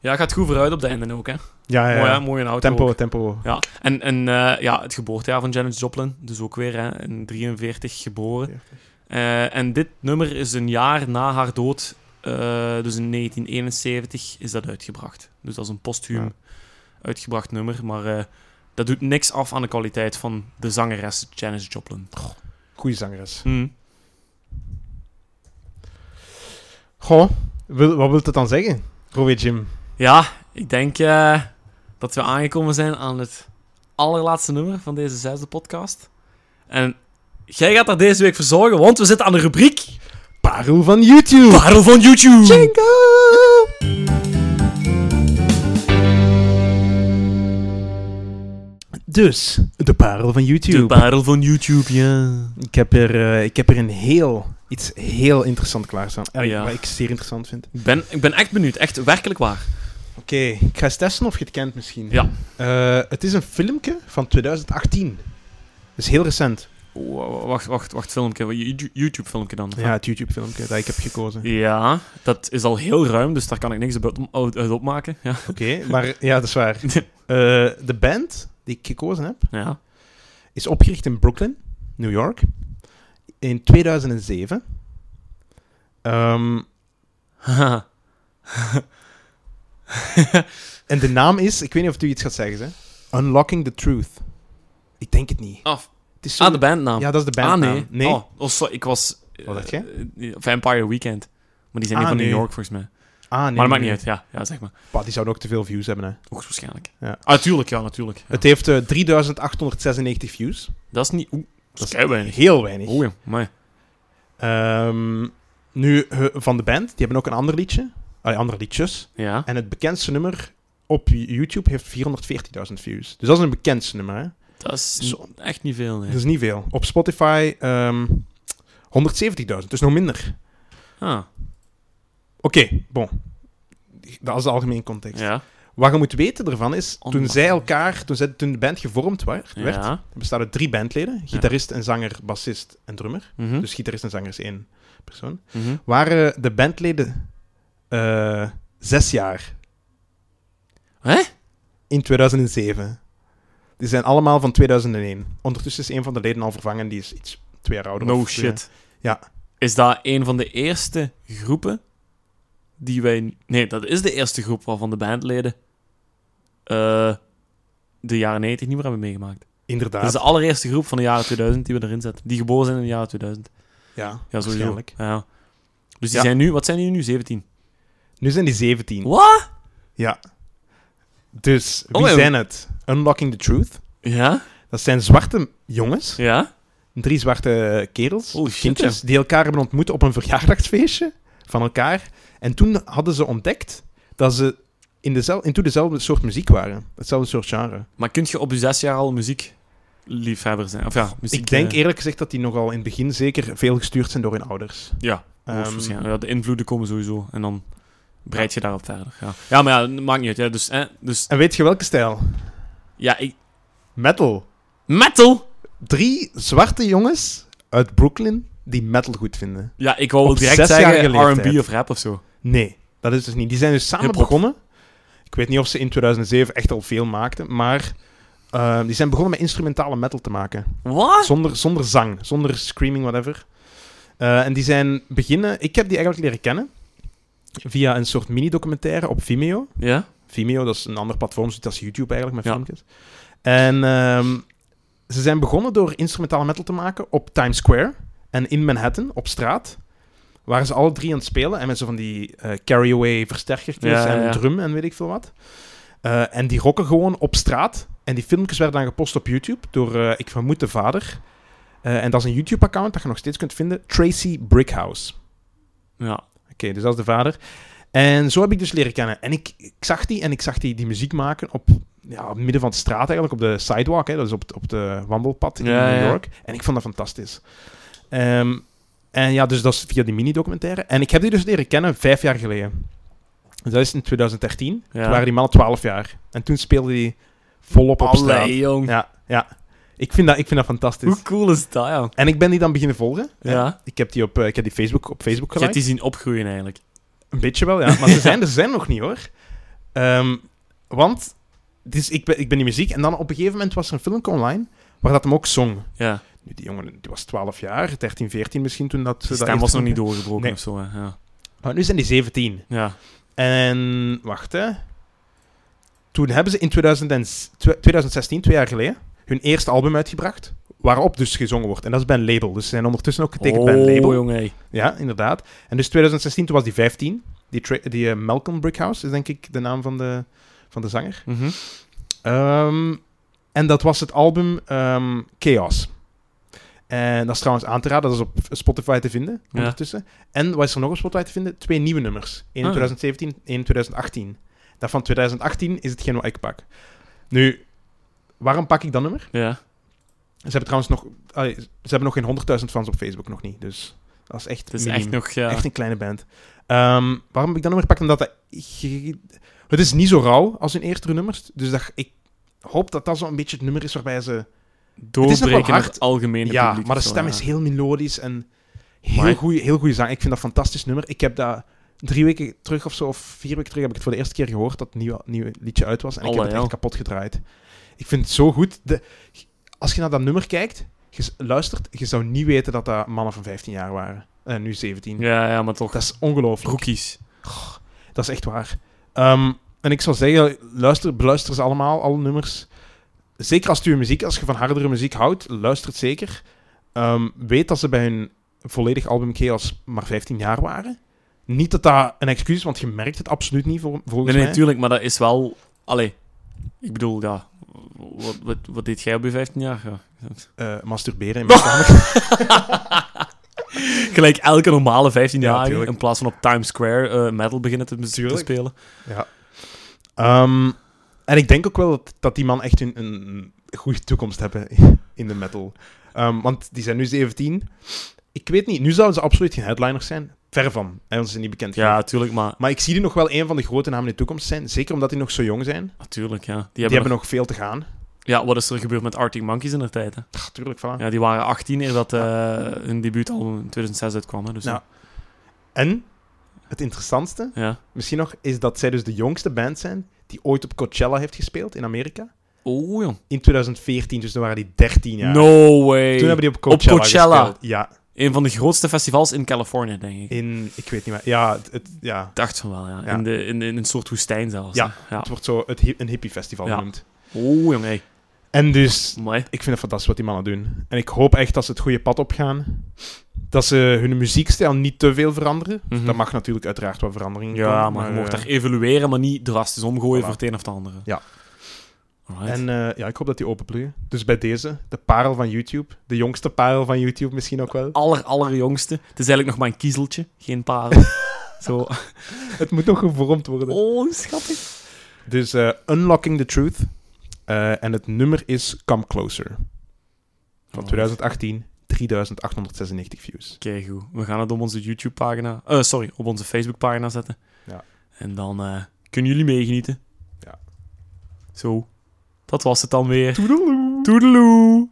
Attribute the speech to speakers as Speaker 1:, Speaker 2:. Speaker 1: Ja, gaat goed vooruit op het einde ook, hè.
Speaker 2: Ja, Ah, ja,
Speaker 1: Mooi, hè?
Speaker 2: ja.
Speaker 1: Mooi in auto ook.
Speaker 2: Tempo, tempo.
Speaker 1: Ja, en, en eh, ja, het geboortejaar van Janis Joplin, dus ook weer hè, in 43 geboren. Eh, en dit nummer is een jaar na haar dood, eh, dus in 1971 is dat uitgebracht. Dus dat is een postuum
Speaker 2: Ja.
Speaker 1: uitgebracht nummer, maar eh, dat doet niks af aan de kwaliteit van de zangeres Janis Joplin.
Speaker 2: Goeie zangeres.
Speaker 1: Hm.
Speaker 2: Goh, wil, wat wil dat dan zeggen? Rowie Jim.
Speaker 1: Ja, ik denk eh, dat we aangekomen zijn aan het allerlaatste nummer van deze zesde podcast. En jij gaat daar deze week voor zorgen, want we zitten aan de rubriek...
Speaker 2: Parel van YouTube.
Speaker 1: Parel van YouTube.
Speaker 2: Jingle! Dus, de parel van
Speaker 1: De
Speaker 2: YouTube.
Speaker 1: parel van YouTube, ja.
Speaker 2: ik, heb er, eh, ik heb er een heel, iets heel interessant klaarstaan. Eh,
Speaker 1: Ja.
Speaker 2: Wat ik zeer interessant vind.
Speaker 1: Ik ben, ik ben echt benieuwd, echt werkelijk waar.
Speaker 2: Oké, ik ga eens testen of je het kent misschien.
Speaker 1: Ja.
Speaker 2: Eh, het is een filmpje van 2018. Dat is heel recent.
Speaker 1: Oh, Wacht, wacht, wacht, filmpje. YouTube filmpje dan.
Speaker 2: Ja, het YouTube filmpje dat ik heb gekozen.
Speaker 1: Ja, dat is al heel ruim, dus daar kan ik niks op- uit uit opmaken. Ja.
Speaker 2: Oké, maar ja, dat is waar. Eh, de band die ik gekozen heb,
Speaker 1: ja.
Speaker 2: is opgericht in Brooklyn, New York, in 2007. Ehm,
Speaker 1: Haha.
Speaker 2: en de naam is, ik weet niet of het u iets gaat zeggen, hè? Unlocking the Truth. Ik denk het niet.
Speaker 1: Af.
Speaker 2: Het is zo-
Speaker 1: Ah, de bandnaam.
Speaker 2: Ja, dat is de
Speaker 1: ah,
Speaker 2: bandnaam.
Speaker 1: nee.
Speaker 2: nee.
Speaker 1: Oh, oh, sorry, ik was... eh,
Speaker 2: Wat dacht jij?
Speaker 1: eh, Vampire Weekend. Maar die zijn niet
Speaker 2: Ah,
Speaker 1: van
Speaker 2: nee.
Speaker 1: New York, volgens mij.
Speaker 2: Ah, nee.
Speaker 1: maar dat maakt
Speaker 2: nee.
Speaker 1: niet uit, ja. Ja, zeg maar.
Speaker 2: Bah, die zouden ook te veel views hebben, hè.
Speaker 1: Hoogstwaarschijnlijk.
Speaker 2: Ja.
Speaker 1: Ah, tuurlijk, ja, natuurlijk. Ja.
Speaker 2: Het heeft eh, 3896 views.
Speaker 1: Dat is niet... Oeh, dat
Speaker 2: Dat
Speaker 1: is
Speaker 2: is
Speaker 1: kei weinig. Oh.
Speaker 2: Heel weinig.
Speaker 1: Oeh, maar
Speaker 2: Ehm, nu, he- van de band, die hebben ook een ander liedje. Allee, andere liedjes.
Speaker 1: Ja.
Speaker 2: En het bekendste nummer op YouTube heeft 440.000 views. Dus dat is een bekendste nummer, hè.
Speaker 1: Dat is
Speaker 2: Zo- Dus-
Speaker 1: echt niet veel, nee.
Speaker 2: Dat is niet veel. Op Spotify ehm 170.000, dus nog minder.
Speaker 1: Ah,
Speaker 2: Oké, bon. Dat is de algemene context.
Speaker 1: ja.
Speaker 2: Wat je moet weten ervan is, toen
Speaker 1: Onmogelijk.
Speaker 2: zij elkaar, toen, zij, toen de band gevormd werd, werd
Speaker 1: Ja.
Speaker 2: bestaat uit drie bandleden, gitarist en zanger, bassist en drummer.
Speaker 1: Mhm.
Speaker 2: Dus gitarist en zanger is één persoon.
Speaker 1: Mhm.
Speaker 2: Waren de bandleden eh, zes jaar.
Speaker 1: Hè?
Speaker 2: In 2007. Die zijn allemaal van 2001. Ondertussen is een van de leden al vervangen, die is iets twee jaar ouder.
Speaker 1: No
Speaker 2: of twee-
Speaker 1: shit.
Speaker 2: Ja.
Speaker 1: Is dat een van de eerste groepen die wij... Nee, dat is de eerste groep waarvan de bandleden eh, de jaren 90 niet meer hebben meegemaakt.
Speaker 2: Inderdaad.
Speaker 1: Dat is de allereerste groep van de jaren 2000 die we erin zetten. Die geboren zijn in de jaren 2000.
Speaker 2: Ja,
Speaker 1: Ja, sowieso.
Speaker 2: waarschijnlijk.
Speaker 1: Ja. Dus die
Speaker 2: Ja.
Speaker 1: zijn nu... Wat zijn die nu? 17?
Speaker 2: Nu zijn die 17.
Speaker 1: Wat?
Speaker 2: Ja. Dus, wie
Speaker 1: Oh, en-
Speaker 2: zijn het? Unlocking the Truth.
Speaker 1: Ja?
Speaker 2: Dat zijn zwarte jongens.
Speaker 1: Ja?
Speaker 2: Drie zwarte kerels.
Speaker 1: Holy shit,
Speaker 2: kindjes. Die elkaar hebben ontmoet op een verjaardagsfeestje van elkaar. En toen hadden ze ontdekt dat ze in, dezel, in toe dezelfde soort muziek waren. Hetzelfde soort genre.
Speaker 1: Maar kun je op je zes jaar al muziekliefhebber zijn? Of ja, muziek...
Speaker 2: Ik denk
Speaker 1: eh,
Speaker 2: eerlijk gezegd dat die nogal in het begin zeker veel gestuurd zijn door hun ouders.
Speaker 1: Ja.
Speaker 2: e- Ehm,
Speaker 1: Hoogstwaarschijnlijk. ja, de invloeden komen sowieso. En dan breid je daarop verder. Ja, ja maar ja, maakt niet uit. Ja, dus, hè, dus
Speaker 2: en weet je welke stijl?
Speaker 1: ja, ik...
Speaker 2: Metal.
Speaker 1: Metal!
Speaker 2: Drie zwarte jongens uit Brooklyn die metal goed vinden.
Speaker 1: Ja, ik wou
Speaker 2: Op
Speaker 1: direct
Speaker 2: zesjarige
Speaker 1: zeggen R&B
Speaker 2: leeftijd.
Speaker 1: of rap of zo.
Speaker 2: Nee, dat is dus niet. Die zijn dus samen
Speaker 1: Hip-hop.
Speaker 2: begonnen. Ik weet niet of ze in 2007 echt al veel maakten, maar eh, die zijn begonnen met instrumentale metal te maken.
Speaker 1: Wat?
Speaker 2: Zonder, zonder zang, zonder screaming, whatever. Eh, en die zijn beginnen... Ik heb die eigenlijk leren kennen via een soort mini-documentaire op Vimeo.
Speaker 1: Ja?
Speaker 2: Vimeo, dat is een ander platform, zoiets als YouTube eigenlijk, met
Speaker 1: Ja.
Speaker 2: filmpjes. En ehm, ze zijn begonnen door instrumentale metal te maken op Times Square en in Manhattan, op straat. Waren ze alle drie aan het spelen en met zo van die eh, carry-away versterkertjes
Speaker 1: Ja, ja,
Speaker 2: en
Speaker 1: ja.
Speaker 2: drum en weet ik veel wat. Eh, en die rocken gewoon op straat. En die filmpjes werden dan gepost op YouTube door, eh, ik vermoed, de vader. Eh, en dat is een YouTube-account dat je nog steeds kunt vinden, Tracy Brickhouse.
Speaker 1: Ja.
Speaker 2: Oké, dus dat is de vader. En zo heb ik dus leren kennen. En ik, ik zag die en ik zag die, die muziek maken op, ja, op het midden van de straat eigenlijk, op de sidewalk, hè, dat is op, het- op de wandelpad in
Speaker 1: Ja, ja.
Speaker 2: New York. En ik vond dat fantastisch. Ehm, en ja, dus dat is via die mini-documentaire. En ik heb die dus leren kennen vijf jaar geleden. Dus dat is in 2013.
Speaker 1: Ja.
Speaker 2: Toen waren die mannen 12 jaar. En toen speelde die volop op straat.
Speaker 1: Allee, jong.
Speaker 2: Ja, ja. Ik vind dat, ik vind dat fantastisch.
Speaker 1: Hoe cool is dat, jong?
Speaker 2: En ik ben die dan beginnen volgen.
Speaker 1: Ja.
Speaker 2: Ik heb die op, eh, ik heb die Facebook, op Facebook
Speaker 1: Je hebt
Speaker 2: geliked.
Speaker 1: die zien opgroeien, eigenlijk.
Speaker 2: Een beetje wel, ja. Maar ze zijn, er ze zijn nog niet, hoor. Ehm, want het is, ik, ben, ik ben die muziek. En dan op een gegeven moment was er een filmpje online waar dat hem ook zong.
Speaker 1: Ja,
Speaker 2: Nu, die jongen die was 12 jaar, 13, 14 misschien toen dat...
Speaker 1: de
Speaker 2: dat
Speaker 1: stem
Speaker 2: eerst
Speaker 1: was nog niet
Speaker 2: filmpje-
Speaker 1: doorgebroken
Speaker 2: Nee.
Speaker 1: of zo. Hè. Ja.
Speaker 2: Maar nu zijn die 17.
Speaker 1: ja.
Speaker 2: En wacht hè. Toen hebben ze in 2000 en s- tw- 2016, twee jaar geleden, hun eerste album uitgebracht. Waarop dus gezongen wordt. En dat is bij een label. Dus ze zijn ondertussen ook getekend bij
Speaker 1: Oh,
Speaker 2: een label.
Speaker 1: jongen. hey.
Speaker 2: Ja, inderdaad. En dus 2016, toen was die 15. Die, tra- die eh, Malcolm Brickhouse is denk ik de naam van de, van de zanger.
Speaker 1: Mhm.
Speaker 2: Ehm, en dat was het album ehm, Chaos. En dat is trouwens aan te raden, dat is op Spotify te vinden
Speaker 1: Ja.
Speaker 2: ondertussen. En wat is er nog op Spotify te vinden? Twee nieuwe nummers. Eén in
Speaker 1: Ah.
Speaker 2: 2017, één in 2018. Dat van 2018 is hetgeen wat ik pak. Nu, waarom pak ik dat nummer?
Speaker 1: Ja.
Speaker 2: Ze hebben trouwens nog, allee, ze hebben nog geen 100.000 fans op Facebook, nog niet. Dus dat is echt
Speaker 1: Het is
Speaker 2: miniem.
Speaker 1: echt nog... Ja.
Speaker 2: Echt een kleine band. Ehm, waarom heb ik dat nummer gepakt? Omdat dat... ge- Het is niet zo rauw als hun eerdere nummers. Dus dat, ik hoop dat dat zo'n beetje het nummer is waarbij ze...
Speaker 1: doorbreken
Speaker 2: nog wel
Speaker 1: in
Speaker 2: hard.
Speaker 1: het algemene
Speaker 2: ja,
Speaker 1: publiek
Speaker 2: maar de
Speaker 1: of zo,
Speaker 2: stem
Speaker 1: ja.
Speaker 2: is heel melodisch en heel
Speaker 1: Amai.
Speaker 2: goede heel goeie zang. Ik vind dat een fantastisch nummer. Ik heb dat drie weken terug of zo, of vier weken terug, heb ik het voor de eerste keer gehoord dat het nieuwe, nieuwe liedje uit was. En ik heb het
Speaker 1: Allee,
Speaker 2: echt
Speaker 1: ja.
Speaker 2: kapot gedraaid. Ik vind het zo goed. De, als je naar dat nummer kijkt, je s- luistert, je zou niet weten dat dat mannen van 15 jaar waren. En nu 17.
Speaker 1: Ja, ja, maar toch.
Speaker 2: Dat is ongelooflijk.
Speaker 1: Rookies.
Speaker 2: Dat is echt waar. Ehm, en ik zou zeggen, luister, beluister ze allemaal, alle nummers. Zeker als het uw muziek, als je van hardere muziek houdt, luister het zeker. Ehm, weet dat ze bij hun volledig album Chaos maar 15 jaar waren. Niet dat dat een excuus is, want je merkt het absoluut niet vol- volgens
Speaker 1: Nee, nee,
Speaker 2: mij.
Speaker 1: natuurlijk, maar dat is wel... Allee, ik bedoel, ja... Wat, wat, wat deed jij op je 15 jaar? Ja.
Speaker 2: Eh, masturberen in mijn kamer.
Speaker 1: Gelijk elke normale 15
Speaker 2: Ja,
Speaker 1: jaar
Speaker 2: tuurlijk.
Speaker 1: in plaats van op Times Square eh, metal beginnen te, te
Speaker 2: Tuurlijk.
Speaker 1: spelen.
Speaker 2: Ehm, en ik denk ook wel dat, dat die man echt een, een goede toekomst hebben in de metal. Ehm, want die zijn nu 17. Ik weet niet, nu zouden ze absoluut geen headliners zijn. Ver van, hè, want ze zijn niet bekend.
Speaker 1: Ja, natuurlijk, maar...
Speaker 2: Maar ik zie die nog wel een van de grote namen in de toekomst zijn. Zeker omdat die nog zo jong zijn. Die
Speaker 1: Natuurlijk, ja. Die hebben,
Speaker 2: hebben,
Speaker 1: nog-
Speaker 2: nog veel te gaan.
Speaker 1: Ja, wat is er gebeurd met Arctic Monkeys in de tijd, hè?
Speaker 2: Natuurlijk, voilà.
Speaker 1: Ja, die waren 18 eer dat eh, hun debuutalbum in 2006 uitkwam, hè. Dus,
Speaker 2: Nou. En het interessantste,
Speaker 1: Ja.
Speaker 2: misschien nog, is dat zij dus de jongste band zijn die ooit op Coachella heeft gespeeld in Amerika.
Speaker 1: Oh, jong.
Speaker 2: In 2014, dus toen waren die 13 jaar.
Speaker 1: No way.
Speaker 2: Toen hebben die op Coachella,
Speaker 1: Coachella.
Speaker 2: gespeeld. Ja,
Speaker 1: Een van de grootste festivals in Californië, denk ik. Ik
Speaker 2: in, ik weet niet meer. Ja, het, het- ja.
Speaker 1: dacht van wel, ja.
Speaker 2: Ja.
Speaker 1: In, de, in, in een soort woestijn zelfs.
Speaker 2: Ja.
Speaker 1: hè. ja.
Speaker 2: het wordt zo het, hi- een hippiefestival
Speaker 1: Ja.
Speaker 2: genoemd.
Speaker 1: Oh, jong, hey.
Speaker 2: En dus,
Speaker 1: Mooi.
Speaker 2: ik vind het fantastisch wat die mannen doen. En ik hoop echt dat ze het goede pad opgaan. Dat ze hun muziekstijl niet te veel veranderen.
Speaker 1: Mhm.
Speaker 2: Dat mag natuurlijk uiteraard wat verandering
Speaker 1: Ja, maar, je mocht
Speaker 2: eh,
Speaker 1: daar evalueren, maar niet drastisch omgooien
Speaker 2: Voilà.
Speaker 1: voor het een of het andere.
Speaker 2: Ja.
Speaker 1: Alright.
Speaker 2: En eh, ja, ik hoop dat die openbloeien. Dus bij deze, de parel van YouTube. De jongste parel van YouTube misschien ook wel.
Speaker 1: aller, allerjongste. Het is eigenlijk nog maar een kiezeltje, geen parel. Zo.
Speaker 2: Het moet nog gevormd worden.
Speaker 1: Oh, schattig.
Speaker 2: Dus eh, Unlocking the Truth. Eh, en het nummer is Come Closer.
Speaker 1: Oh.
Speaker 2: Van 2018, 3896 views.
Speaker 1: Oké, goed. Dus We gaan het op onze YouTube-pagina... eh, sorry, op onze Facebook-pagina zetten.
Speaker 2: Ja.
Speaker 1: En dan eh, kunnen jullie meegenieten.
Speaker 2: Ja.
Speaker 1: Zo. Dat was het dan weer. Toedeloe. Toedeloe.